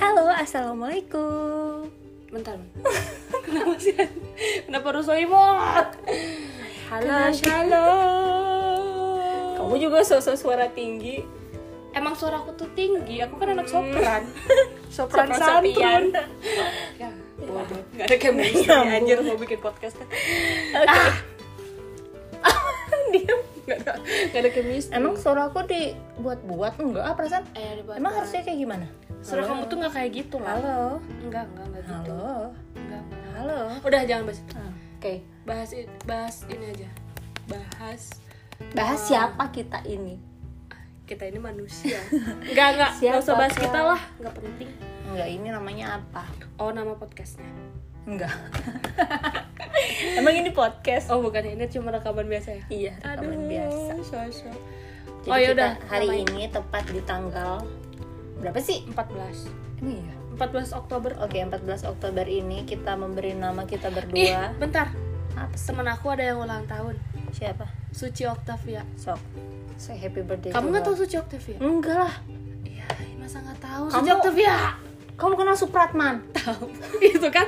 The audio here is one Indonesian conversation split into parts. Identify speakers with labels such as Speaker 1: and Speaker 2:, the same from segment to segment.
Speaker 1: Halo, assalamualaikum.
Speaker 2: Bentar. Kenapa sih? Kenapa harus soimo?
Speaker 1: Kenapa?
Speaker 2: Halo, shalom.
Speaker 1: Kamu juga sosok suara tinggi.
Speaker 2: Emang suara aku tuh tinggi, aku kan anak
Speaker 1: Hmm,
Speaker 2: sopran.
Speaker 1: Sopran
Speaker 2: santun.
Speaker 1: sopian.
Speaker 2: Ya, bodoh. Gak ada chemistry
Speaker 1: Nggak nyambung.
Speaker 2: anjir mau bikin podcast kan.
Speaker 1: Oke. Diam.
Speaker 2: Gak ada, gak ada chemistry.
Speaker 1: Emang suara aku dibuat-buat enggak ah, perasaan?
Speaker 2: Eh, ada
Speaker 1: Emang
Speaker 2: batas.
Speaker 1: harusnya kayak gimana?
Speaker 2: suara
Speaker 1: Halo?
Speaker 2: kamu tuh gak kayak gitu lah.
Speaker 1: Halo.
Speaker 2: Enggak, enggak, enggak gitu.
Speaker 1: Halo.
Speaker 2: Enggak, enggak.
Speaker 1: Halo.
Speaker 2: Udah jangan bahas. itu.
Speaker 1: Oke.
Speaker 2: Bahas i- bahas ini aja. Bahas
Speaker 1: Bahas siapa kita ini?
Speaker 2: kita ini manusia. Enggak, enggak. Enggak usah
Speaker 1: Siapa
Speaker 2: bahas
Speaker 1: kau?
Speaker 2: kita lah, enggak penting.
Speaker 1: Enggak, ini namanya apa?
Speaker 2: Oh, nama podcastnya.
Speaker 1: Enggak. Emang ini podcast?
Speaker 2: Oh, bukan ini cuma rekaman biasa ya.
Speaker 1: Iya, rekaman biasa.
Speaker 2: sosok.
Speaker 1: Jadi
Speaker 2: Oh, yaudah,
Speaker 1: kita hari
Speaker 2: ngapain?
Speaker 1: ini tepat di tanggal berapa sih?
Speaker 2: 14.
Speaker 1: Ini ya.
Speaker 2: 14 Oktober.
Speaker 1: Oke, 14 Oktober ini kita memberi nama kita
Speaker 2: Ih,
Speaker 1: berdua
Speaker 2: bentar.
Speaker 1: Apa
Speaker 2: Temen aku ada yang ulang tahun.
Speaker 1: siapa?
Speaker 2: Suci Octavia.
Speaker 1: Sok. Saya happy birthday.
Speaker 2: Kamu nggak tahu
Speaker 1: juga.
Speaker 2: Suci Octavia?
Speaker 1: Enggak lah.
Speaker 2: Iya, masa nggak tahu
Speaker 1: Kamu-
Speaker 2: Suci Octavia?
Speaker 1: Kamu kenal Supratman?
Speaker 2: Tahu. Itu kan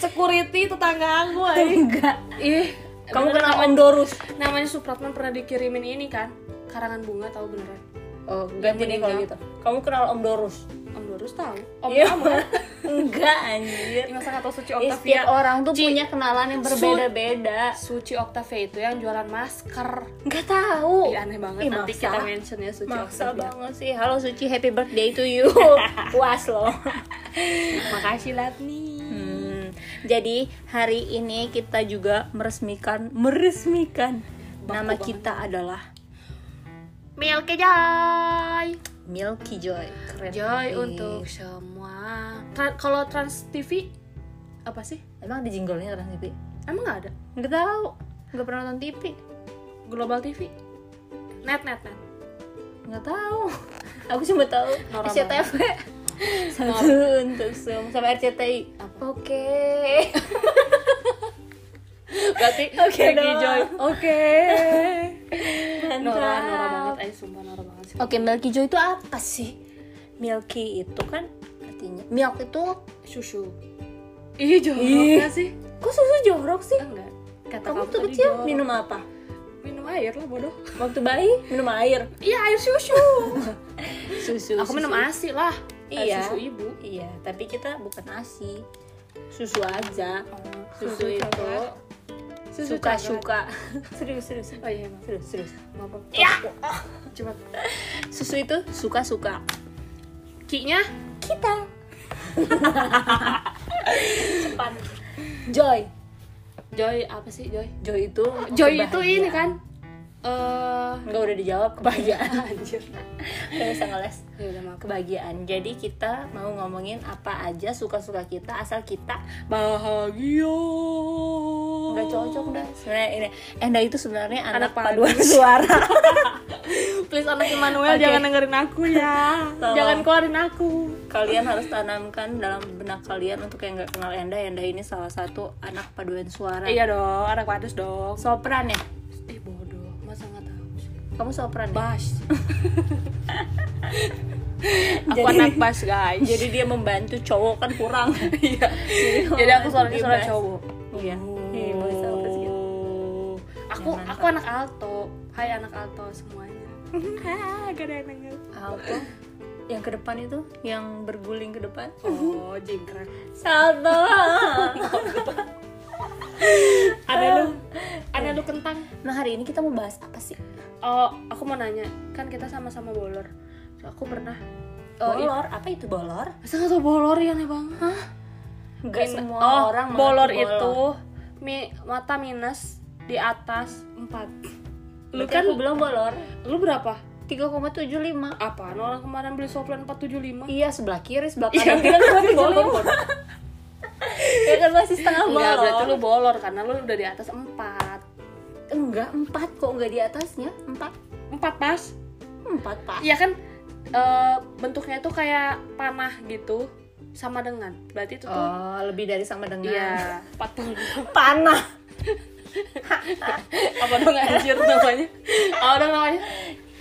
Speaker 2: security tetangga aku. ay.
Speaker 1: Enggak.
Speaker 2: Ih,
Speaker 1: Kamu
Speaker 2: beneran
Speaker 1: kenal
Speaker 2: namanya-
Speaker 1: Om Dorus?
Speaker 2: Namanya Supratman pernah dikirimin ini kan? Karangan bunga tahu beneran.
Speaker 1: Oh, ganti deh kalau gitu. Kamu kenal Om Dorus?
Speaker 2: Om Dorus tahu. Om
Speaker 1: Iya.
Speaker 2: kamu.
Speaker 1: Enggak anjir.
Speaker 2: Ih, masa nggak tahu Suci
Speaker 1: Eh,
Speaker 2: Octavia?
Speaker 1: Setiap orang tuh punya kenalan yang berbeda-beda.
Speaker 2: Suci Octavia itu yang jualan masker.
Speaker 1: Enggak tahu.
Speaker 2: Ih, aneh banget.
Speaker 1: Ih,
Speaker 2: Nanti
Speaker 1: maksa.
Speaker 2: kita mention ya Suci
Speaker 1: Maksa
Speaker 2: Octavia.
Speaker 1: banget sih. Halo Suci, happy birthday to you. Puas loh.
Speaker 2: Makasih Latni.
Speaker 1: Hmm, jadi hari ini kita juga meresmikan meresmikan
Speaker 2: Baku
Speaker 1: nama
Speaker 2: banget.
Speaker 1: kita adalah
Speaker 2: Milky Joy.
Speaker 1: Milky Joy. Keren.
Speaker 2: Joy
Speaker 1: banget.
Speaker 2: untuk semua. Tra- kalau Trans TV apa sih?
Speaker 1: Emang ada jinglenya Trans TV?
Speaker 2: Emang nggak ada?
Speaker 1: Enggak tahu. Enggak pernah nonton TV.
Speaker 2: Global TV. Net net net.
Speaker 1: Enggak tahu. Aku cuma tahu
Speaker 2: Norak
Speaker 1: SCTV. Satu untuk semua sama RCTI.
Speaker 2: Apa?
Speaker 1: Oke.
Speaker 2: Berarti
Speaker 1: Oke
Speaker 2: Milky
Speaker 1: dong.
Speaker 2: Joy. Oke. Nora
Speaker 1: Mantap.
Speaker 2: Nora banget, ay sumpah Nora banget sih.
Speaker 1: Oke, Milky Joy itu apa sih? Milky itu kan artinya milk itu
Speaker 2: Susu. Ih jorok
Speaker 1: Ih.
Speaker 2: nggak sih?
Speaker 1: kok susu jorok sih?
Speaker 2: Eh, Enggak. Kata
Speaker 1: Kamu tuh
Speaker 2: tadi
Speaker 1: kecil
Speaker 2: jorok.
Speaker 1: minum apa?
Speaker 2: minum air lah bodoh.
Speaker 1: Waktu bayi minum air.
Speaker 2: Iya air susu.
Speaker 1: Susu.
Speaker 2: Aku minum ASI lah. Air
Speaker 1: Iya.
Speaker 2: Susu ibu.
Speaker 1: Iya, tapi kita bukan ASI. Susu aja.
Speaker 2: Oh,
Speaker 1: Susu, itu
Speaker 2: coklat.
Speaker 1: suka-suka. serius, serius.
Speaker 2: Oh iya, emang.
Speaker 1: Serius, serius.
Speaker 2: Maaf. maaf.
Speaker 1: Ya.
Speaker 2: Coba.
Speaker 1: Susu itu suka-suka.
Speaker 2: Kinya
Speaker 1: Kita. Cepat. Joy.
Speaker 2: Joy apa sih Joy?
Speaker 1: Joy itu
Speaker 2: Joy itu
Speaker 1: kebahagiaan.
Speaker 2: ini kan. Eh,
Speaker 1: Enggak udah dijawab kebahagiaan.
Speaker 2: anjir.
Speaker 1: Enggak bisa ngeles.
Speaker 2: Ya udah maaf.
Speaker 1: Kebahagiaan. Jadi kita mau ngomongin apa aja suka-suka kita asal kita
Speaker 2: Bahagia.
Speaker 1: nggak cocok dah sebenarnya ini Enda itu sebenarnya anak,
Speaker 2: Anak
Speaker 1: paduan suara
Speaker 2: Please anak Immanuel
Speaker 1: Oke.
Speaker 2: jangan dengerin aku ya.
Speaker 1: Tolong.
Speaker 2: Jangan keluarin aku.
Speaker 1: kalian harus tanamkan dalam benak kalian untuk yang nggak kenal Enda Enda ini salah satu anak paduan suara
Speaker 2: Iya dong, anak padus dong.
Speaker 1: sopran ya
Speaker 2: Eh bodoh, masa nggak tahu sih?
Speaker 1: kamu sopran ya?
Speaker 2: Bass. aku
Speaker 1: Jadi-
Speaker 2: anak bass guys.
Speaker 1: jadi dia membantu cowok kan kurang
Speaker 2: Iya. Jadi aku suaranya suara cowok.
Speaker 1: iya Iya, boleh sopran segitu.
Speaker 2: Oh. Aku
Speaker 1: Ya, mantap.
Speaker 2: aku anak alto. Hai anak alto semuanya. Hahaha, Gak ada yang denger.
Speaker 1: Apa? yang ke depan itu yang berguling ke depan
Speaker 2: Oh, jingkrak.
Speaker 1: salto
Speaker 2: Ada lu. Ada lu kentang.
Speaker 1: nah hari ini kita mau bahas apa sih
Speaker 2: Oh, aku mau nanya. Kan kita sama-sama bolor. So, aku pernah Oh, iya.
Speaker 1: bolor apa itu bolor
Speaker 2: Masa nggak tau bolor ya nih bang? Hah?
Speaker 1: Gak
Speaker 2: Min-
Speaker 1: semua
Speaker 2: oh,
Speaker 1: orang mengaku
Speaker 2: bolor, itu mi- mata minus di atas 4 Lu
Speaker 1: Berarti
Speaker 2: kan
Speaker 1: aku belum bolor
Speaker 2: lu berapa?
Speaker 1: 3,75
Speaker 2: Apaan orang kemarin beli soplan 475?
Speaker 1: Iya sebelah kiri sebelah
Speaker 2: Iya,
Speaker 1: kanan
Speaker 2: kan masih bolor.
Speaker 1: Ya kan masih setengah
Speaker 2: Enggak,
Speaker 1: bolor
Speaker 2: berarti lu bolor karena lu udah di atas 4
Speaker 1: Enggak empat kok enggak di atasnya empat
Speaker 2: 4 pas?
Speaker 1: empat pak
Speaker 2: Iya kan eh, bentuknya tuh kayak panah gitu sama dengan. Berarti itu tuh
Speaker 1: Oh lebih dari sama dengan
Speaker 2: iya 40.
Speaker 1: panah
Speaker 2: Apa dong anjir namanya? Apa dong namanya?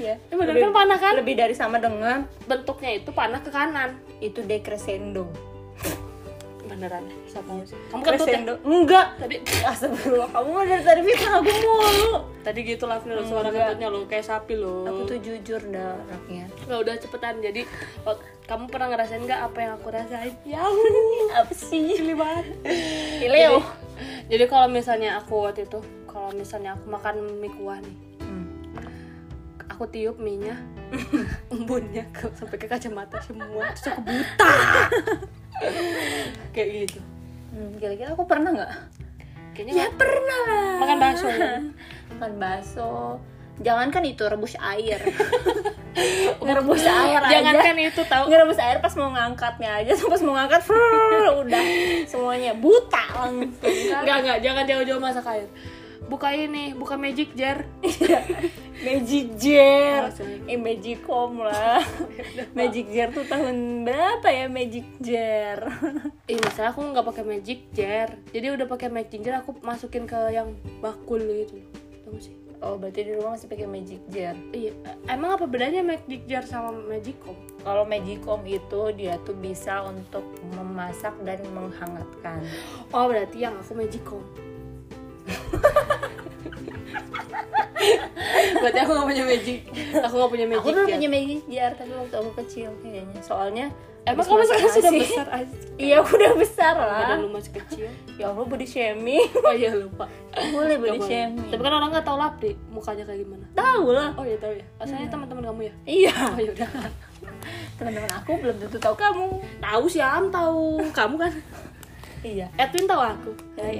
Speaker 1: ya
Speaker 2: Eh, bener kan panah kan?
Speaker 1: lebih dari sama dengan
Speaker 2: bentuknya itu panah ke kanan
Speaker 1: itu decrescendo
Speaker 2: beneran
Speaker 1: siapa
Speaker 2: kamu kentut ya?
Speaker 1: crescendo enggak
Speaker 2: tadi
Speaker 1: astagfirullah kamu mah dari tadi bikin aku mulu
Speaker 2: tadi gitu lah Fir, suara
Speaker 1: Enggak.
Speaker 2: kentutnya lo kayak sapi lo
Speaker 1: aku tuh jujur dah anaknya
Speaker 2: nggak udah cepetan jadi lo- kamu pernah ngerasain nggak apa yang aku rasain ya
Speaker 1: apa sih
Speaker 2: gini banget
Speaker 1: Hileo.
Speaker 2: Jadi- jadi kalau misalnya aku waktu itu kalau misalnya aku makan mie kuah nih
Speaker 1: Hmm.
Speaker 2: aku tiup minyak embunnya ke, sampai ke kacamata semua terus aku buta kayak gitu
Speaker 1: Hmm, kira-kira aku pernah nggak
Speaker 2: kayaknya nggak-
Speaker 1: Ya, pernah lah
Speaker 2: makan bakso
Speaker 1: makan bakso jangankan itu rebus air ngerebus air
Speaker 2: jangankan
Speaker 1: aja
Speaker 2: itu tahu
Speaker 1: ngerebus air pas mau ngangkatnya aja pas mau ngangkat frrrr, udah semuanya buta langsung
Speaker 2: Enggak, enggak, jangan jauh-jauh masak air. Buka ini, buka magic jar.
Speaker 1: Magic Jar
Speaker 2: Maksudnya?
Speaker 1: eh Magicom lah Magic Jar tuh tahun berapa ya Magic Jar
Speaker 2: Ih, masalah aku nggak pakai magic jar. Jadi udah pakai magic jar aku masukin ke yang bakul gitu loh. Tau nggak sih?
Speaker 1: oh berarti di rumah masih pakai Magic Jar
Speaker 2: Iya, emang apa bedanya magic jar sama magicom?
Speaker 1: kalau Magicom itu dia tuh bisa untuk memasak dan menghangatkan
Speaker 2: Oh, berarti yang aku magicom. berarti aku nggak punya magic. Aku nggak punya magic
Speaker 1: aku dulu
Speaker 2: jar.
Speaker 1: punya Magic Jar tapi waktu aku kecil kayaknya soalnya
Speaker 2: Emang
Speaker 1: habis
Speaker 2: kamu
Speaker 1: masak
Speaker 2: sekarang sudah
Speaker 1: nasi-
Speaker 2: besar aja.
Speaker 1: iya aku udah besar lah
Speaker 2: Badan lu masih kecil.
Speaker 1: ya Allah body shaming
Speaker 2: Oh iya lupa.
Speaker 1: boleh body
Speaker 2: Nggak boleh.
Speaker 1: shaming
Speaker 2: Tapi kan orang nggak tahu lah, Pri, mukanya kayak gimana.
Speaker 1: tahu lah
Speaker 2: Oh iya tahu ya. Asalnya teman-teman kamu ya.
Speaker 1: iya
Speaker 2: Oh ya udah.
Speaker 1: teman-teman aku belum tentu tahu kamu
Speaker 2: Tahu sih Am tahu. Kamu kan
Speaker 1: iya Hmm.
Speaker 2: Edwin tahu aku.
Speaker 1: Hai,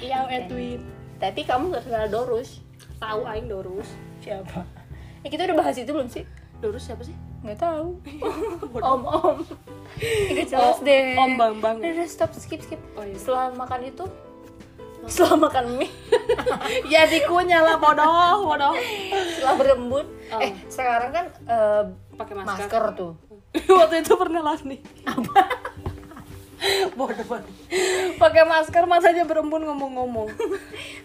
Speaker 2: Iya Edwin.
Speaker 1: Tapi kamu gak kenal Dorus
Speaker 2: Tahu aing Dorus.
Speaker 1: Siapa? Eh, kita udah bahas itu belum sih?
Speaker 2: Dorus siapa sih?
Speaker 1: Gak tahu. om om. Gak jelas
Speaker 2: Oh,
Speaker 1: deh.
Speaker 2: Om Bambang.
Speaker 1: Udah, udah, stop skip skip.
Speaker 2: Oh, iya.
Speaker 1: Setelah makan itu, setelah makan mie,
Speaker 2: ya dikunyah lah bodoh, bodoh.
Speaker 1: setelah berembun.
Speaker 2: Oh.
Speaker 1: Eh sekarang kan eh,
Speaker 2: Pakai
Speaker 1: masker.
Speaker 2: masker.
Speaker 1: tuh.
Speaker 2: Waktu itu pernah lah nih. Apa? bodoh banget. Pakai masker matanya berembun ngomong-ngomong.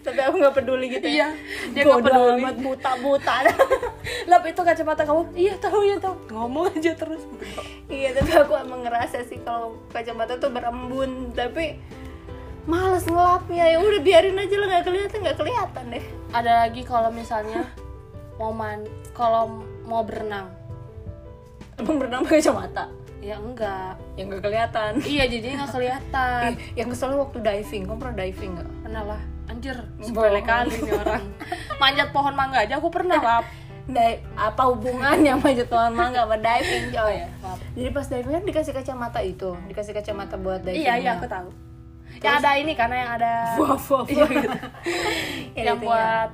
Speaker 1: Tapi aku nggak peduli gitu. ya.
Speaker 2: Iya, dia nggak
Speaker 1: Bodoh
Speaker 2: peduli.
Speaker 1: amat, buta buta.
Speaker 2: Lap itu kacamata kamu. Iya tahu ya tahu. Ngomong aja terus.
Speaker 1: iya tapi aku emang ngerasa sih kalau kacamata tuh berembun tapi males ngelapnya ya udah biarin aja lah nggak kelihatan nggak kelihatan deh
Speaker 2: Ada lagi kalau misalnya mau man kalau mau berenang.
Speaker 1: Emang berenang pakai kacamata?
Speaker 2: Ya enggak.
Speaker 1: Yang gak kelihatan.
Speaker 2: Iya jadi nggak kelihatan.
Speaker 1: Yang kesel waktu diving, kamu pernah diving gak?
Speaker 2: pernah lah. Anjir,
Speaker 1: Bohong.
Speaker 2: sepele kali nih orang. Manjat pohon mangga aja aku pernah lah.
Speaker 1: apa hubungannya sama jatuhan mangga sama diving coy?
Speaker 2: Maaf.
Speaker 1: Jadi pas diving kan dikasih kacamata itu, dikasih kacamata buat diving.
Speaker 2: Iya iya aku tahu. Yang ada ini karena yang ada
Speaker 1: Wah, wah, wah. Ya, gitu
Speaker 2: yang buat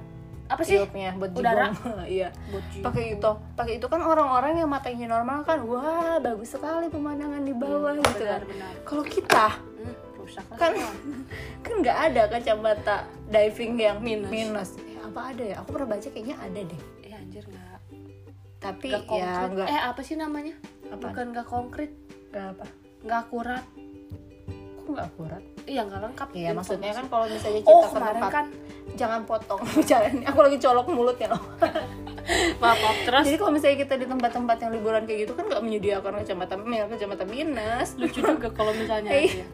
Speaker 2: apa sih?
Speaker 1: tiupnya buat
Speaker 2: Udara.
Speaker 1: jigong. iya.
Speaker 2: Buat jigo.
Speaker 1: Pakai itu, pakai itu kan orang-orang yang matanya normal kan, wah bagus sekali pemandangan di bawah
Speaker 2: Hmm,
Speaker 1: gitu kan.
Speaker 2: benar, benar.
Speaker 1: Kalau kita
Speaker 2: Hmm, rusak lah.
Speaker 1: kan
Speaker 2: semua.
Speaker 1: kan nggak ada kacamata diving yang
Speaker 2: Minus.
Speaker 1: minus, Eh, apa ada ya aku pernah baca kayaknya ada deh
Speaker 2: Eh anjir nggak
Speaker 1: tapi
Speaker 2: nggak
Speaker 1: ya
Speaker 2: konkret.
Speaker 1: nggak
Speaker 2: eh apa sih namanya?
Speaker 1: Apaan?
Speaker 2: Bukan nggak konkret,
Speaker 1: nggak apa
Speaker 2: nggak akurat.
Speaker 1: kok nggak akurat
Speaker 2: Iya nggak lengkap.
Speaker 1: Iya maksudnya kan kalau misalnya kita
Speaker 2: Oh
Speaker 1: ke
Speaker 2: kemarin
Speaker 1: tempat-
Speaker 2: kan
Speaker 1: jangan potong bicaranya aku lagi colok mulutnya loh
Speaker 2: maaf, maaf terus
Speaker 1: jadi kalau misalnya kita di tempat-tempat yang liburan kayak gitu kan nggak menyediakan kacamata mil kacamata minus
Speaker 2: lucu juga kalau misalnya
Speaker 1: Eh,
Speaker 2: iya.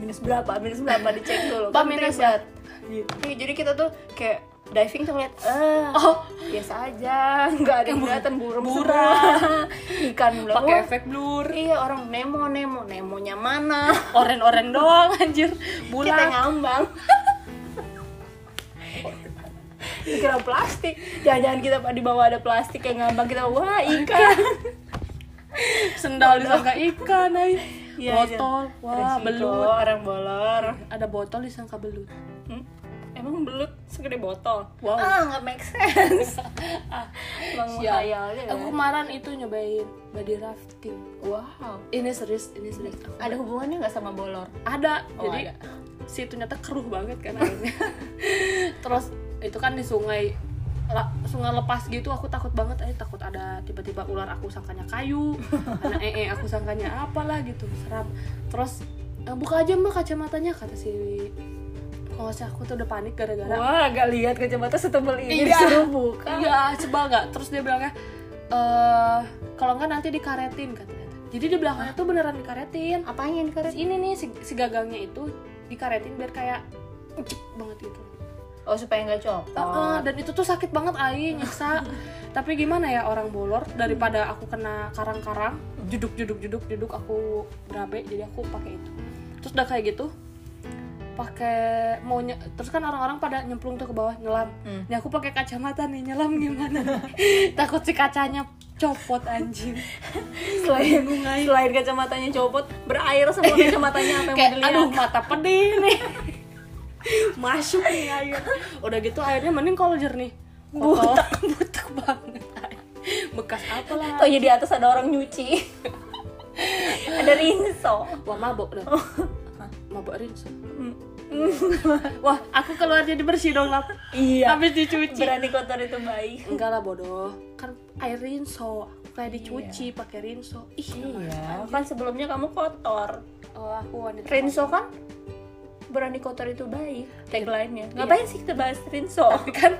Speaker 1: minus berapa minus berapa dicek dulu
Speaker 2: Pak,
Speaker 1: kan
Speaker 2: minus
Speaker 1: ribet.
Speaker 2: gitu.
Speaker 1: Iya, jadi kita tuh kayak diving tuh ngeliat eh
Speaker 2: Oh.
Speaker 1: biasa aja nggak ada yang kelihatan burung
Speaker 2: Buram.
Speaker 1: semua. ikan bilang,
Speaker 2: pakai
Speaker 1: "Wah,
Speaker 2: efek blur
Speaker 1: Iya orang Nemo Nemo Nemonya mana?
Speaker 2: oren-oren doang anjir
Speaker 1: Kita
Speaker 2: bulan
Speaker 1: ngambang. Dikira plastik. Jangan-jangan kita di bawah ada plastik yang ngambang kita wah ikan.
Speaker 2: Iya. sendal disangka ikan ay
Speaker 1: Iya,
Speaker 2: botol wah
Speaker 1: Resiko,
Speaker 2: belut
Speaker 1: orang bolor.
Speaker 2: ada botol disangka belut
Speaker 1: Hmm? Emang belut segede botol.
Speaker 2: Wow.
Speaker 1: Ah nggak make sense. Emang
Speaker 2: Siap.
Speaker 1: khayalnya. ya?
Speaker 2: aku kemarin itu nyobain body rafting
Speaker 1: Wow.
Speaker 2: ini serius ini serius
Speaker 1: Ada hubungannya nggak sama bolor?
Speaker 2: ada
Speaker 1: Oh,
Speaker 2: jadi
Speaker 1: ada.
Speaker 2: si itu nyata keruh banget kan airnya terus itu kan di sungai la- sungai lepas gitu aku takut banget eh takut ada tiba-tiba ular aku sangkanya kayu anak ee aku sangkanya apalah gitu seram terus "Eh, buka aja mbak kacamatanya kata si oh sih aku tuh udah panik gara-gara
Speaker 1: Wah, gak lihat kacamata setebel ini
Speaker 2: Iya.
Speaker 1: disuruh buka.
Speaker 2: iya sebel nggak terus dia bilangnya eh kalau nggak nanti dikaretin katanya jadi di belakangnya tuh beneran dikaretin
Speaker 1: Apanya yang
Speaker 2: terus
Speaker 1: dikaret?
Speaker 2: ini nih si, si gagangnya itu dikaretin biar kayak ucik banget gitu
Speaker 1: Oh, supaya nggak copot.
Speaker 2: Heeh, dan itu tuh sakit banget Aing nyiksa tapi gimana ya orang bolor daripada aku kena karang-karang juduk juduk juduk juduk aku berabe jadi aku pakai itu terus udah kayak gitu pakai mau nye- terus kan orang-orang pada nyemplung tuh ke bawah nyelam
Speaker 1: Hmm.
Speaker 2: Nih aku pakai kacamata nih nyelam gimana takut si kacanya copot anjing
Speaker 1: Selain selain kacamatanya copot, berair semua kacamatanya apa yang mau
Speaker 2: kayak
Speaker 1: dilihat.
Speaker 2: aduh mata pedih nih masuk nih air udah gitu airnya mending kalau jernih buta buta banget air. bekas apa lah
Speaker 1: Tau ya di atas ada orang nyuci. ada rinso.
Speaker 2: wah mabok dah mabok rinso wah aku keluar jadi bersih dong lap
Speaker 1: Iya.
Speaker 2: habis dicuci
Speaker 1: Berani kotor itu baik.
Speaker 2: enggak lah bodoh kan air rinso aku kayak dicuci pakai rinso ih
Speaker 1: Iya, kan sebelumnya kamu kotor.
Speaker 2: oh, aku wanita
Speaker 1: Rinso kan berani kotor itu baik. Tagline-nya. Iya. Ngapain sih kita bahas Rinso?
Speaker 2: tapi kan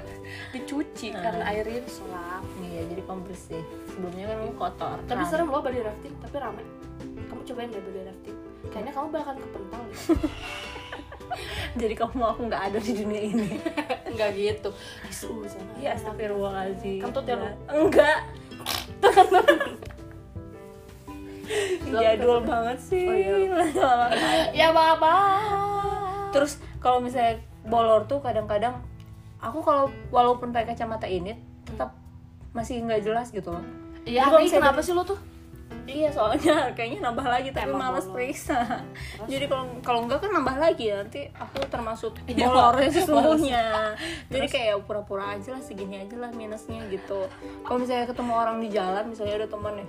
Speaker 2: dicuci karena air rinso lah
Speaker 1: Iya, jadi pembersih. Sebelumnya kan kamu kotor.
Speaker 2: Tapi
Speaker 1: Nah,
Speaker 2: serem loh body rafting, tapi rame. Kamu cobain deh body rafting. Kayaknya kamu bakal kepental deh.
Speaker 1: jadi kamu mau aku nggak ada di dunia ini.
Speaker 2: Enggak gitu. Di suhu sana.
Speaker 1: Iya, astagfirullahaladzim.
Speaker 2: Kentut ya lu?
Speaker 1: Enggak. Jadul banget sih.
Speaker 2: Iya, Oh, iya.
Speaker 1: Lama-lama.
Speaker 2: Ya baba.
Speaker 1: Terus kalau misalnya bolor tuh kadang-kadang aku kalau walaupun pakai kacamata ini tetap masih nggak jelas gitu loh. Tapi
Speaker 2: Iya,
Speaker 1: kalau
Speaker 2: Ri,
Speaker 1: misalnya
Speaker 2: kenapa sih lu tuh?
Speaker 1: Iya, soalnya kayaknya nambah lagi tapi
Speaker 2: Emang
Speaker 1: malas
Speaker 2: bolor.
Speaker 1: periksa. Jadi kalau kalau enggak kan nambah lagi ya, nanti aku termasuk
Speaker 2: Iya,
Speaker 1: bolornya
Speaker 2: males.
Speaker 1: sesungguhnya. Jadi kayak ya pura-pura aja lah segini aja lah minusnya gitu. Kalau misalnya ketemu orang di jalan misalnya ada teman nih.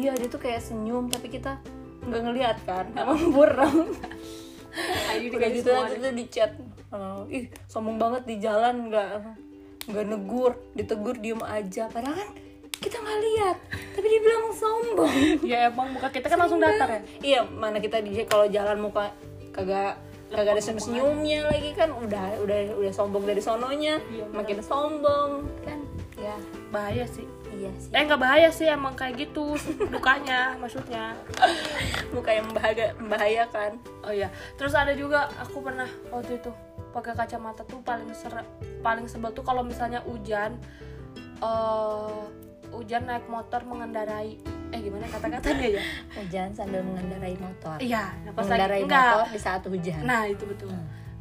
Speaker 1: Iya, dia tuh kayak senyum tapi kita nggak ngelihat kan. Emang buram.
Speaker 2: Ayu
Speaker 1: Udah
Speaker 2: Nah, digaji
Speaker 1: gitu
Speaker 2: semua.
Speaker 1: aja tuh di chat. Oh, ih, sombong banget di jalan nggak nggak negur, ditegur diem aja. Padahal kan kita nggak lihat, tapi dia bilang sombong.
Speaker 2: Ya emang muka kita kan langsung datar ya.
Speaker 1: Iya, mana kita di kalau jalan muka kagak kagak ada senyum senyumnya lagi kan udah udah udah sombong dari sononya
Speaker 2: Iya, bener.
Speaker 1: makin sombong kan ya
Speaker 2: Bahaya sih.
Speaker 1: iya sih
Speaker 2: Eh enggak bahaya sih emang kayak gitu mukanya maksudnya.
Speaker 1: muka yang membahaga, membahayakan
Speaker 2: Oh iya, terus ada juga aku pernah waktu itu pakai kacamata tuh paling ser paling sebel tuh kalau misalnya hujan eh hujan naik motor mengendarai eh gimana kata-katanya ya?
Speaker 1: hujan Eh, sambil mengendarai motor
Speaker 2: Iya, nah pas lagi
Speaker 1: mengendarai
Speaker 2: enggak.
Speaker 1: motor di saat hujan
Speaker 2: Nah, itu betul.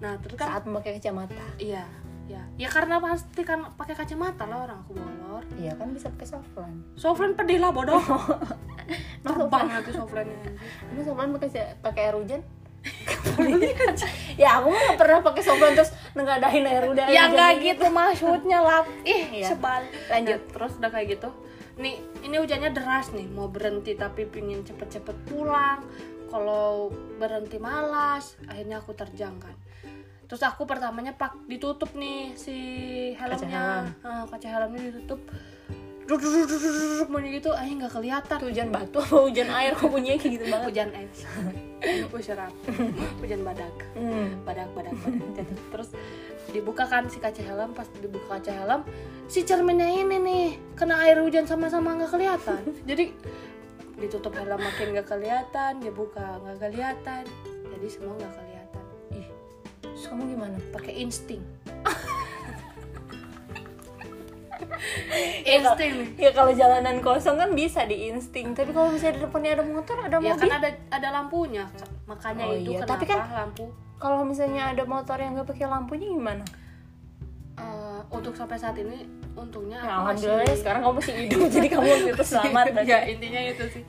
Speaker 2: Nah, terus kan
Speaker 1: saat memakai kacamata
Speaker 2: iya, iya. Ya karena pasti kan pakai kacamata lah orang aku bolor.
Speaker 1: iya kan bisa pakai softlens
Speaker 2: Sofren pedih lah bodoh.
Speaker 1: Masa
Speaker 2: Terbang nanti sofrennya.
Speaker 1: Emang soflan pakai si- pakai air hujan? ya aku mah nggak pernah pakai soflan terus nenggadahin air hujan. hujan
Speaker 2: ya nggak
Speaker 1: dingin.
Speaker 2: gitu maksudnya lap ih
Speaker 1: Iya.
Speaker 2: sebal
Speaker 1: Lanjut.
Speaker 2: Nah, terus udah kayak gitu nih ini hujannya deras nih mau berhenti tapi pingin cepet-cepet pulang kalau berhenti malas akhirnya aku terjang kan terus aku pertamanya pak ditutup nih si helmnya Ah, kaca helmnya ditutup Duduk, duduk, duduk, duduk, duduk, bunyi gitu ah nggak kelihatan
Speaker 1: Tuh hujan batu apa hujan air kok bunyinya kayak gitu banget.
Speaker 2: hujan es Usyarap. hujan badak
Speaker 1: Hmm.
Speaker 2: badak badak badak jatuh. Gitu. terus dibuka kan si kaca helm pas dibuka kaca helm si cerminnya ini nih kena air hujan sama-sama nggak kelihatan jadi ditutup helm makin nggak kelihatan dibuka nggak kelihatan jadi semua nggak kelihatan ih
Speaker 1: Terus kamu gimana?
Speaker 2: pakai insting
Speaker 1: Ya, kalau-
Speaker 2: insting
Speaker 1: Ya kalau jalanan kosong kan bisa di insting, tapi kalau misalnya di depannya ada motor, ada
Speaker 2: ya
Speaker 1: Iya, mobil.
Speaker 2: kan ada ada lampunya makanya
Speaker 1: Oh
Speaker 2: itu
Speaker 1: iya,
Speaker 2: kenapa
Speaker 1: tapi kan-
Speaker 2: lampu
Speaker 1: Kalau misalnya ada motor yang nggak pakai lampunya gimana?
Speaker 2: eh, untuk sampai saat ini untungnya aku
Speaker 1: Nah,
Speaker 2: masih-
Speaker 1: alhamdulillah ya, sekarang kamu masih hidup, jadi kamu waktu itu selamat. berarti. Iya,
Speaker 2: ya intinya itu sih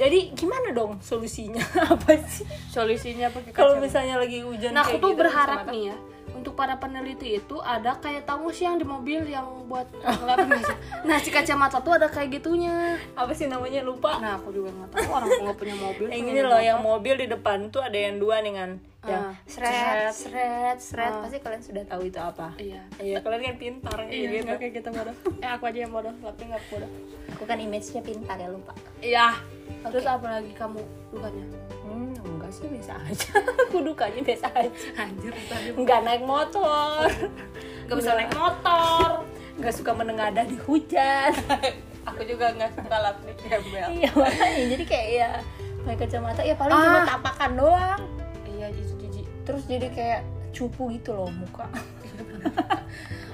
Speaker 1: Jadi gimana dong solusinya? Apa sih?
Speaker 2: solusinya pakai
Speaker 1: Kalau
Speaker 2: kacamata.
Speaker 1: misalnya lagi hujan
Speaker 2: Nah, aku
Speaker 1: kayak
Speaker 2: tuh
Speaker 1: gitu,
Speaker 2: berharap
Speaker 1: kacamata.
Speaker 2: nih ya, untuk para peneliti itu ada kayak tangguh yang di mobil yang buat ngelapin nasi. Nah, si kacamata tuh ada kayak gitunya.
Speaker 1: apa sih namanya lupa?
Speaker 2: Nah, aku juga nggak tahu orang aku nggak punya mobil.
Speaker 1: Yang
Speaker 2: pengen
Speaker 1: ini loh
Speaker 2: bawa.
Speaker 1: yang mobil di depan tuh ada yang dua nih kan. Yang
Speaker 2: Ah,
Speaker 1: seret,
Speaker 2: seret.
Speaker 1: seret, seret.
Speaker 2: Ah.
Speaker 1: Pasti kalian sudah tahu itu apa.
Speaker 2: Iya.
Speaker 1: Iya, kalian kan pintar kayak
Speaker 2: Iya,
Speaker 1: gitu.
Speaker 2: nggak kayak gitu bodoh. Eh, aku aja yang bodoh, tapi nggak bodoh.
Speaker 1: Aku kan image-nya pintar ya lupa.
Speaker 2: Iya. Terus apa lagi kamu bukannya?
Speaker 1: Hmm, enggak harusnya biasa aja kudukannya biasa aja
Speaker 2: anjir tadi
Speaker 1: nggak naik motor
Speaker 2: nggak bisa naik motor
Speaker 1: nggak suka menengadah di hujan
Speaker 3: aku juga nggak suka lap di gembel
Speaker 1: iya makanya jadi kayak ya pakai kacamata ya paling cuma
Speaker 2: Ah.
Speaker 1: tapakan doang
Speaker 2: iya jijik jijik
Speaker 1: terus jadi kayak cupu gitu loh muka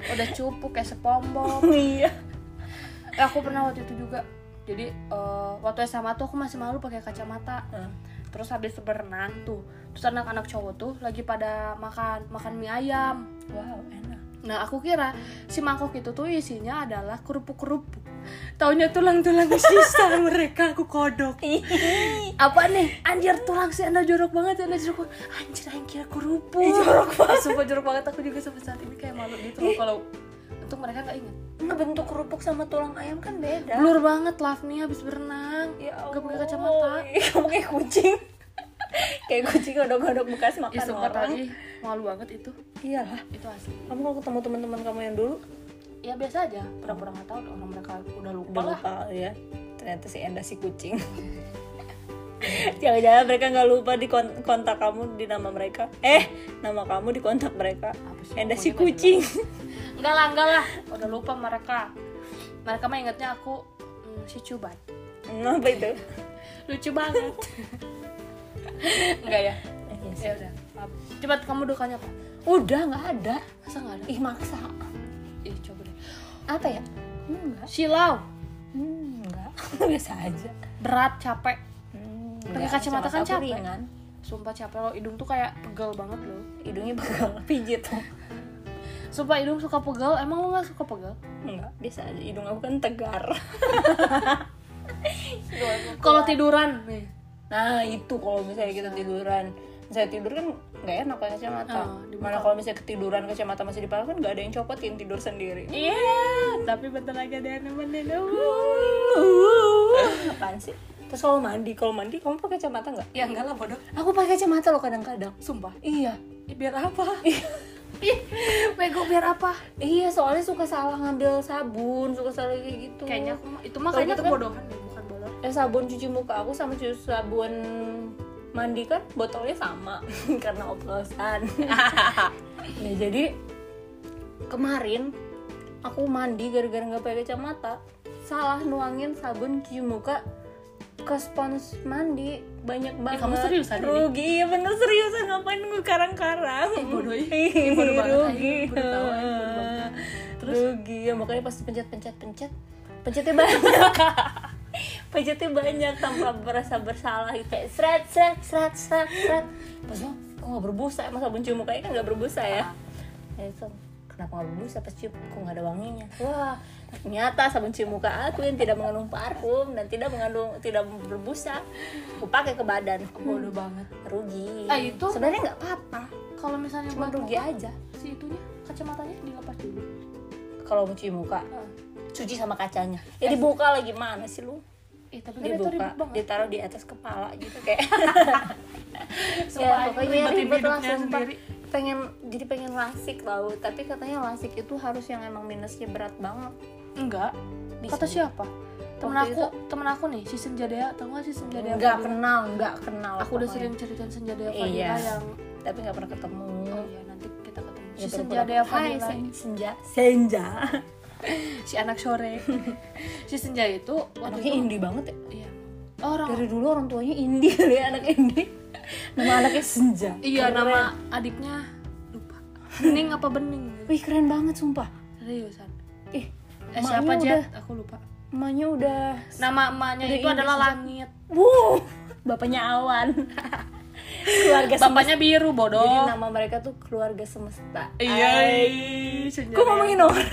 Speaker 2: udah cupu kayak sepombong
Speaker 1: iya
Speaker 2: Eh, aku pernah waktu itu juga jadi eh, waktu SMA tuh aku masih malu pakai kacamata
Speaker 1: Hmm.
Speaker 2: terus habis berenang tuh terus anak-anak cowok tuh lagi pada makan makan mie ayam
Speaker 1: wow enak
Speaker 2: nah aku kira si mangkok itu tuh isinya adalah kerupuk kerupuk taunya tulang-tulang sisa mereka aku kodok apa nih anjir tulang sih anda jorok banget anda jorok banget. anjir yang kira kerupuk jorok banget sumpah jorok banget aku juga sampai saat ini kayak malu gitu loh kalau untuk mereka nggak inget
Speaker 1: nggak bentuk kerupuk sama tulang ayam kan beda Ya
Speaker 2: blur banget lavnya habis berenang Nggak pakai kacamata
Speaker 1: kamu kayak kucing kayak kucing godok-godok bekas makan
Speaker 2: Ih, sumpah
Speaker 1: orang
Speaker 2: tadi malu banget itu
Speaker 1: iyalah
Speaker 2: itu asli
Speaker 1: kamu kalau ketemu teman-teman kamu yang dulu
Speaker 2: ya biasa aja pura-pura nggak tahu orang mereka udah lupa
Speaker 1: udah
Speaker 2: lah
Speaker 1: lupa ya ternyata si Enda si kucing jangan-jangan mereka nggak lupa di kon- kontak kamu di nama mereka eh nama kamu di kontak mereka
Speaker 2: Apa sih,
Speaker 1: Enda si
Speaker 2: pokoknya nggak
Speaker 1: kucing
Speaker 2: enggak lah enggak lah udah lupa mereka mereka mah ingetnya aku hmm, si cubat
Speaker 1: apa itu
Speaker 2: lucu banget enggak ya ya udah maaf cepat kamu dukanya apa
Speaker 1: udah nggak ada
Speaker 2: masa nggak ada
Speaker 1: ih maksa
Speaker 2: ih coba deh
Speaker 1: apa ya enggak
Speaker 2: silau
Speaker 1: hmm, enggak biasa aja
Speaker 2: berat capek
Speaker 1: Hmm,
Speaker 2: Pakai
Speaker 1: enggak.
Speaker 2: kacamata
Speaker 1: Kacamata
Speaker 2: kan
Speaker 1: aku
Speaker 2: capek.
Speaker 1: ringan.
Speaker 2: sumpah capek loh hidung tuh kayak pegel banget loh
Speaker 1: hidungnya bakal pijit tuh
Speaker 2: sumpah hidung suka pegel emang lo nggak suka pegel
Speaker 1: enggak biasa aja hidung aku kan tegar
Speaker 2: kalau tiduran nih
Speaker 1: nah itu kalau misalnya kita tiduran misalnya tidur kan nggak enak pakai kacamata
Speaker 2: Oh, dibuka.
Speaker 1: mana kalau misalnya ketiduran kacamata masih dipakai kan nggak ada yang copotin tidur sendiri
Speaker 2: Iya, tapi bentar lagi ada yang nemenin
Speaker 1: apaan sih terus kalau mandi kalau mandi kamu pakai kacamata nggak
Speaker 2: Ya enggak lah bodoh.
Speaker 1: aku pakai kacamata loh kadang-kadang
Speaker 2: Sumpah.
Speaker 1: iya
Speaker 2: biar apa? Ih, bego biar apa?
Speaker 1: iya soalnya suka salah ngambil sabun suka salah kayak gitu
Speaker 2: Kayaknya aku mah- itu mah
Speaker 1: Kalau
Speaker 2: kayaknya
Speaker 1: gitu kan-
Speaker 2: kebodohan deh, bukan bodoh.
Speaker 1: eh sabun cuci muka aku sama cuci sabun mandi kan botolnya sama karena oplosan ya jadi kemarin aku mandi gara-gara nggak pakai kacamata salah nuangin sabun cuci muka ke spons mandi banyak banget
Speaker 2: Eh, kamu seriusan ini?
Speaker 1: rugi iya bener seriusan ngapain Iya. gue karang-karang
Speaker 2: bodoh ya.
Speaker 1: Ih,
Speaker 2: bodoh banget, ayo.
Speaker 1: rugi
Speaker 2: Bodoh tahu, ayo. Bodoh banget.
Speaker 1: terus rugi ya makanya pas pencet-pencet-pencet pencetnya banyak pencetnya banyak tanpa berasa bersalah gitu kayak seret seret seret seret seret pas lo kok nggak berbusa emang sabun cium mukanya kan nggak berbusa ya ya itu kenapa nggak berbusa pas cium kok nggak ada wanginya wah ternyata sabun cium muka aku yang tidak mengandung parfum dan tidak mengandung tidak berbusa aku pakai ke badan
Speaker 2: Bodoh banget.
Speaker 1: rugi
Speaker 2: Ah, Hmm. itu?
Speaker 1: sebenarnya nggak apa-apa
Speaker 2: Kalau misalnya
Speaker 1: cuma
Speaker 2: buat
Speaker 1: rugi aja
Speaker 2: si itunya kacamatanya dilepas dulu.
Speaker 1: kalau mau cuci muka cuci sama kacanya ya dibuka lagi mana sih lu
Speaker 2: Eh, tapi kan itu
Speaker 1: dibuka
Speaker 2: ribet banget.
Speaker 1: ditaruh di atas kepala gitu kayak
Speaker 2: Sumpah,
Speaker 1: ya pokoknya
Speaker 2: ribetin
Speaker 1: ribet lah
Speaker 2: hidupnya
Speaker 1: sumpah
Speaker 2: sendiri.
Speaker 1: pengen jadi pengen lasik tau tapi katanya lasik itu harus yang emang minusnya berat banget
Speaker 2: Enggak.
Speaker 1: Bisa juga.
Speaker 2: Kata siapa? Temen
Speaker 1: Waktu
Speaker 2: aku, temen aku nih, si Senjadea, tau gak si Senjadea?
Speaker 1: nggak
Speaker 2: Fadila?
Speaker 1: kenal nggak kenal
Speaker 2: Aku udah
Speaker 1: pokoknya.
Speaker 2: sering ceritain Senjadea
Speaker 1: Iya.
Speaker 2: Fadila yang
Speaker 1: tapi nggak pernah ketemu
Speaker 2: Oh iya, nanti kita ketemu.
Speaker 1: Ya,
Speaker 2: Si
Speaker 1: pura-pura.
Speaker 2: Senjadea
Speaker 1: Hai,
Speaker 2: Fadila.
Speaker 1: Sen- senja senja
Speaker 2: si anak sore si senja itu waktu
Speaker 1: anaknya
Speaker 2: itu
Speaker 1: indie banget ya
Speaker 2: iya orang
Speaker 1: dari dulu orang tuanya indie kali ya anak indie nama anaknya senja
Speaker 2: iya
Speaker 1: Keren.
Speaker 2: nama adiknya lupa bening apa bening
Speaker 1: wih keren banget sumpah
Speaker 2: seriusan
Speaker 1: ih emaknya
Speaker 2: eh, siapa
Speaker 1: udah,
Speaker 2: Jet aku lupa
Speaker 1: emaknya udah
Speaker 2: nama emaknya
Speaker 1: Udah
Speaker 2: itu
Speaker 1: ini
Speaker 2: adalah
Speaker 1: sejak-
Speaker 2: langit
Speaker 1: Wuh, bapaknya awan. keluarga semesta.
Speaker 2: bapaknya
Speaker 1: Ya,
Speaker 2: biru
Speaker 1: Jadi
Speaker 2: bodoh
Speaker 1: nama mereka tuh keluarga semesta.
Speaker 2: iya
Speaker 1: Ay.
Speaker 2: iya, Senja
Speaker 1: Kok
Speaker 2: Dea.
Speaker 1: ngomongin orang?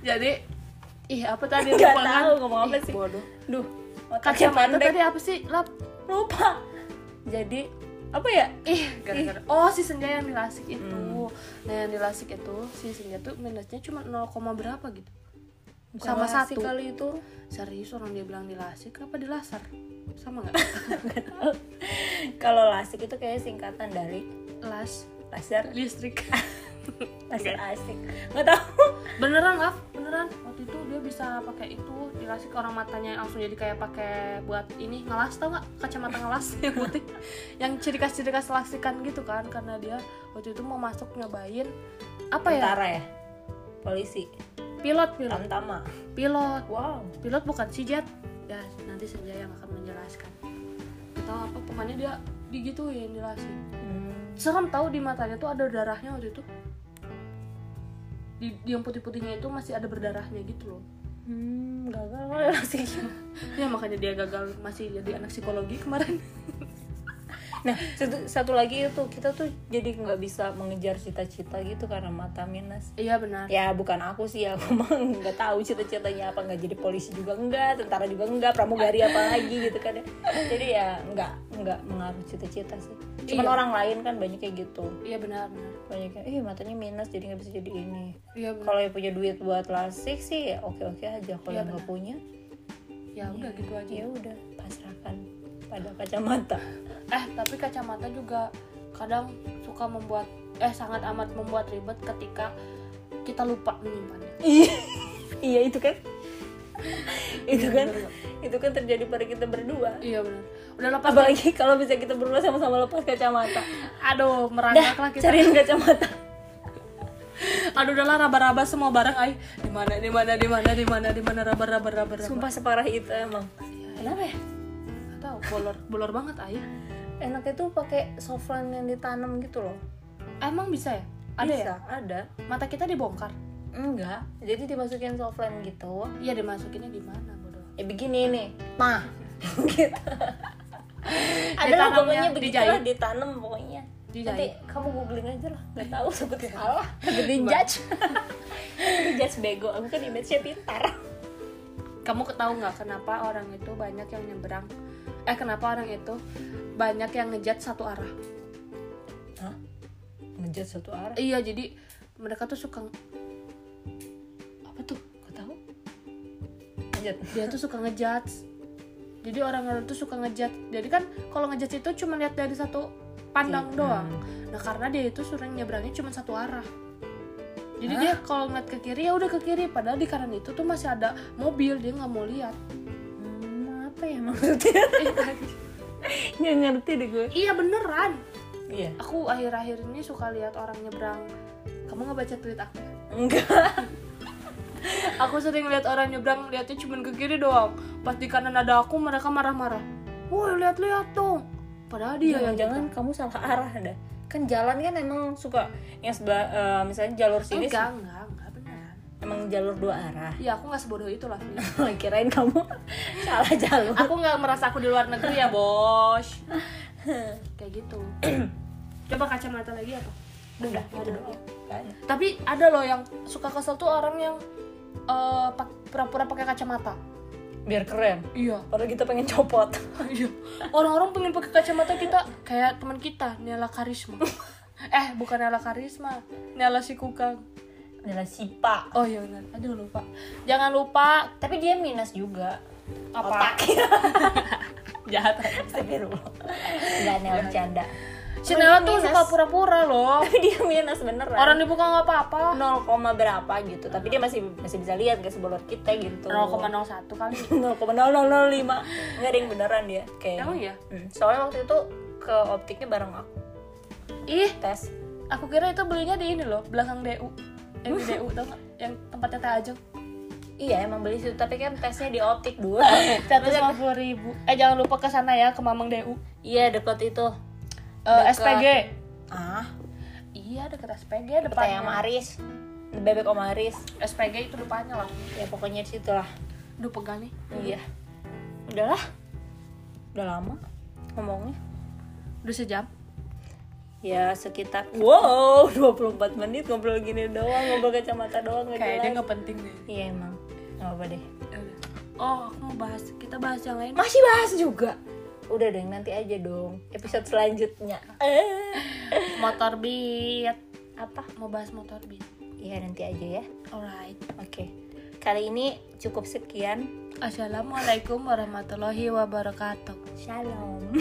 Speaker 2: jadi ih apa tadi
Speaker 1: Nggak
Speaker 2: lupa kan?
Speaker 1: tahu ngomong apa
Speaker 2: Ih,
Speaker 1: sih.
Speaker 2: bodoh
Speaker 1: Duh, otaknya
Speaker 2: kacamata
Speaker 1: pandai.
Speaker 2: tadi apa sih lap
Speaker 1: Lupa. Jadi apa ya?
Speaker 2: ih gara-gara oh si senja yang dilasik itu
Speaker 1: Hmm.
Speaker 2: nah yang dilasik itu si senja tuh minusnya cuma 0, berapa gitu
Speaker 1: Bukan
Speaker 2: sama
Speaker 1: nasi
Speaker 2: satu
Speaker 1: kali itu.
Speaker 2: serius orang dia bilang dilasik apa dilasar sama nggak
Speaker 1: Kalau lasik itu kayak singkatan dari
Speaker 2: las
Speaker 1: laser
Speaker 2: listrik
Speaker 1: Masih asik. Nggak tahu.
Speaker 2: beneran lah beneran waktu itu dia bisa pakai itu dikasih ke orang matanya langsung jadi kayak pakai buat ini ngelas tau nggak kacamata ngelas yang putih yang ciri khas ciri khas laksikan gitu kan karena dia waktu itu mau masuk nyobain apa ya
Speaker 1: Tentara ya? Polisi.
Speaker 2: pilot pilot
Speaker 1: Tamtama.
Speaker 2: pilot
Speaker 1: Wow.
Speaker 2: pilot bukan si jet ya nanti senja yang akan menjelaskan atau apa pokoknya dia digituin jelasin
Speaker 1: Hmm.
Speaker 2: serem tahu di matanya tuh ada darahnya waktu itu di, di yang putih-putihnya itu masih ada berdarahnya gitu loh
Speaker 1: Hmm, gagal lah laksikan.
Speaker 2: ya makanya dia gagal masih jadi anak psikologi kemarin
Speaker 1: Nah, satu, satu lagi itu kita tuh jadi nggak bisa mengejar cita-cita gitu karena mata minus.
Speaker 2: iya benar
Speaker 1: Ya bukan aku sih, aku mah nggak tahu cita-citanya apa nggak jadi polisi juga enggak, tentara juga enggak, pramugari apa lagi gitu kan. ya. Jadi ya nggak nggak mengaruh cita-cita sih. Cuman
Speaker 2: Iya.
Speaker 1: orang lain kan banyak kayak gitu,
Speaker 2: iya benar benar
Speaker 1: banyak yang, eh matanya minus jadi nggak bisa jadi ini.
Speaker 2: iya benar
Speaker 1: Kalau yang punya duit buat lasik sih oke oke aja, kalau
Speaker 2: Iya,
Speaker 1: yang nggak punya
Speaker 2: ya udah gitu aja
Speaker 1: ya udah pasrahkan pada kacamata.
Speaker 2: eh tapi kacamata juga kadang suka membuat eh sangat amat membuat ribet ketika kita lupa menyimpannya
Speaker 1: Iya, iya itu kan. itu kan itu kan terjadi pada kita berdua.
Speaker 2: iya benar udah lepas
Speaker 1: Apalagi kalau bisa kita berdua sama-sama lepas kacamata.
Speaker 2: aduh merangkak
Speaker 1: Dah,
Speaker 2: lah kita
Speaker 1: cariin kacamata.
Speaker 2: aduh udahlah raba-raba semua barang ay di mana di mana di mana di mana di mana raba-raba raba raba
Speaker 1: Sumpah separah itu emang. Kenapa ya?
Speaker 2: Nggak tahu bolor bolor banget ay
Speaker 1: Enaknya tuh pakai softlens yang ditanam gitu loh.
Speaker 2: emang bisa ya ada
Speaker 1: bisa,
Speaker 2: ya
Speaker 1: ada.
Speaker 2: mata kita dibongkar
Speaker 1: Enggak. Jadi dimasukin softlens gitu.
Speaker 2: iya dimasukinnya di mana bodoh
Speaker 1: Ya begini nih. Nah. gitu. ada lah
Speaker 2: Ditanamnya,
Speaker 1: pokoknya
Speaker 2: dijahit.
Speaker 1: begitulah ditanam pokoknya.
Speaker 2: Dijahit.
Speaker 1: Nanti kamu googling aja lah. Gak tahu sebut salah. Takut di judge. di judge bego. Aku kan image-nya pintar.
Speaker 2: kamu tahu nggak kenapa orang itu banyak yang nyebrang eh kenapa orang itu banyak yang ngejat satu arah
Speaker 1: Hah? Ngejudge satu arah.
Speaker 2: iya jadi mereka tuh suka
Speaker 1: Apa tuh? Gak tahu. Lanjut.
Speaker 2: dia tuh suka ngejat jadi orang-orang tuh suka ngejat jadi kan kalau ngejat itu cuma lihat dari satu
Speaker 1: Hmm.
Speaker 2: pandang doang nah karena dia itu sering nyebrangnya cuma satu arah jadi dia kalau ngeliat ke kiri ya udah ke kiri padahal di kanan itu tuh masih ada mobil dia nggak mau lihat Eh,
Speaker 1: Hmm, apa ya maksudnya? Nggak ngerti deh gue.
Speaker 2: iya beneran
Speaker 1: Iya.
Speaker 2: aku akhir-akhir ini suka lihat orang nyebrang kamu nggak baca tweet aku
Speaker 1: Enggak.
Speaker 2: aku sering lihat orang nyebrang lihatnya cuma ke kiri doang pas di kanan ada aku mereka marah-marah woi lihat-lihat dong
Speaker 1: Iya,
Speaker 2: padahal dia Iya, yang
Speaker 1: Jangan-jangan kamu salah arah dah. Kan jalan kan emang suka yang sebelah eh, misalnya jalur sini
Speaker 2: enggak enggak enggak beneran
Speaker 1: emang jalur dua arah.
Speaker 2: ya aku nggak sebodoh itu lah Fi.
Speaker 1: kirain kamu salah jalur
Speaker 2: aku nggak merasa aku di luar negeri ya bos kayak gitu coba kacamata lagi apa
Speaker 1: udah itu doang
Speaker 2: tapi ada loh yang suka kesel tuh orang yang eh, pak- pura-pura pakai kacamata
Speaker 1: biar keren
Speaker 2: iya
Speaker 1: padahal kita pengen copot
Speaker 2: Iya. Orang-orang pengen pakai kacamata kita kayak teman kita, Nela Karisma. eh, bukan Nela Karisma, Nela si Kukang.
Speaker 1: adalah sipa
Speaker 2: Oh iya benar. Aduh lupa. Jangan lupa
Speaker 1: tapi dia minus juga
Speaker 2: apa?
Speaker 1: jahat astagfirullah nggak nel bercanda
Speaker 2: Si Nela
Speaker 1: Dia
Speaker 2: tuh
Speaker 1: minus.
Speaker 2: suka pura-pura loh.
Speaker 1: tapi dia minus beneran
Speaker 2: Orang dibuka nggak apa-apa.
Speaker 1: 0, berapa gitu tapi dia masih masih bisa lihat gak sebelum kita gitu
Speaker 2: 0,01 kali.
Speaker 1: 0,0005 nggak ada yang beneran dia kayak
Speaker 2: Emang ya?
Speaker 1: Hmm, soalnya waktu itu ke optiknya bareng aku
Speaker 2: iya? Ih,
Speaker 1: tes
Speaker 2: aku kira itu belinya di ini loh, belakang DU. Yang di DU tau nggak? Yang tempatnya Teh Ajeng.
Speaker 1: iya emang beli situ tapi kan tesnya di optik dulu
Speaker 2: Eh, 150 ribu. Eh jangan lupa ke sana ya ke Mamang DU.
Speaker 1: iya deket itu
Speaker 2: Eh,
Speaker 1: Dekat.
Speaker 2: SPG.
Speaker 1: ah
Speaker 2: Iya deket ya, SPG
Speaker 1: Pertanyaan sama
Speaker 2: depannya.
Speaker 1: Aris Bebek sama Aris
Speaker 2: SPG itu depannya lah.
Speaker 1: Ya pokoknya di situ lah
Speaker 2: Duh pegang nih.
Speaker 1: Iya Udahlah Udah lama ngomongnya
Speaker 2: Udah sejam.
Speaker 1: Ya sekitar Wow 24 menit ngobrol gini doang Ngobrol kacamata doang nggak jelas.
Speaker 2: nggak penting deh.
Speaker 1: Iya emang Gak apa deh
Speaker 2: Oh, aku mau bahas. Kita bahas yang lain.
Speaker 1: Masih bahas juga Udah deh nanti aja dong Episode selanjutnya eh.
Speaker 2: Motor beat.
Speaker 1: Apa?
Speaker 2: Mau bahas motor beat.
Speaker 1: Iya nanti aja ya
Speaker 2: Alright.
Speaker 1: Oke Kali ini cukup sekian
Speaker 2: Assalamualaikum warahmatullahi wabarakatuh.
Speaker 1: Shalom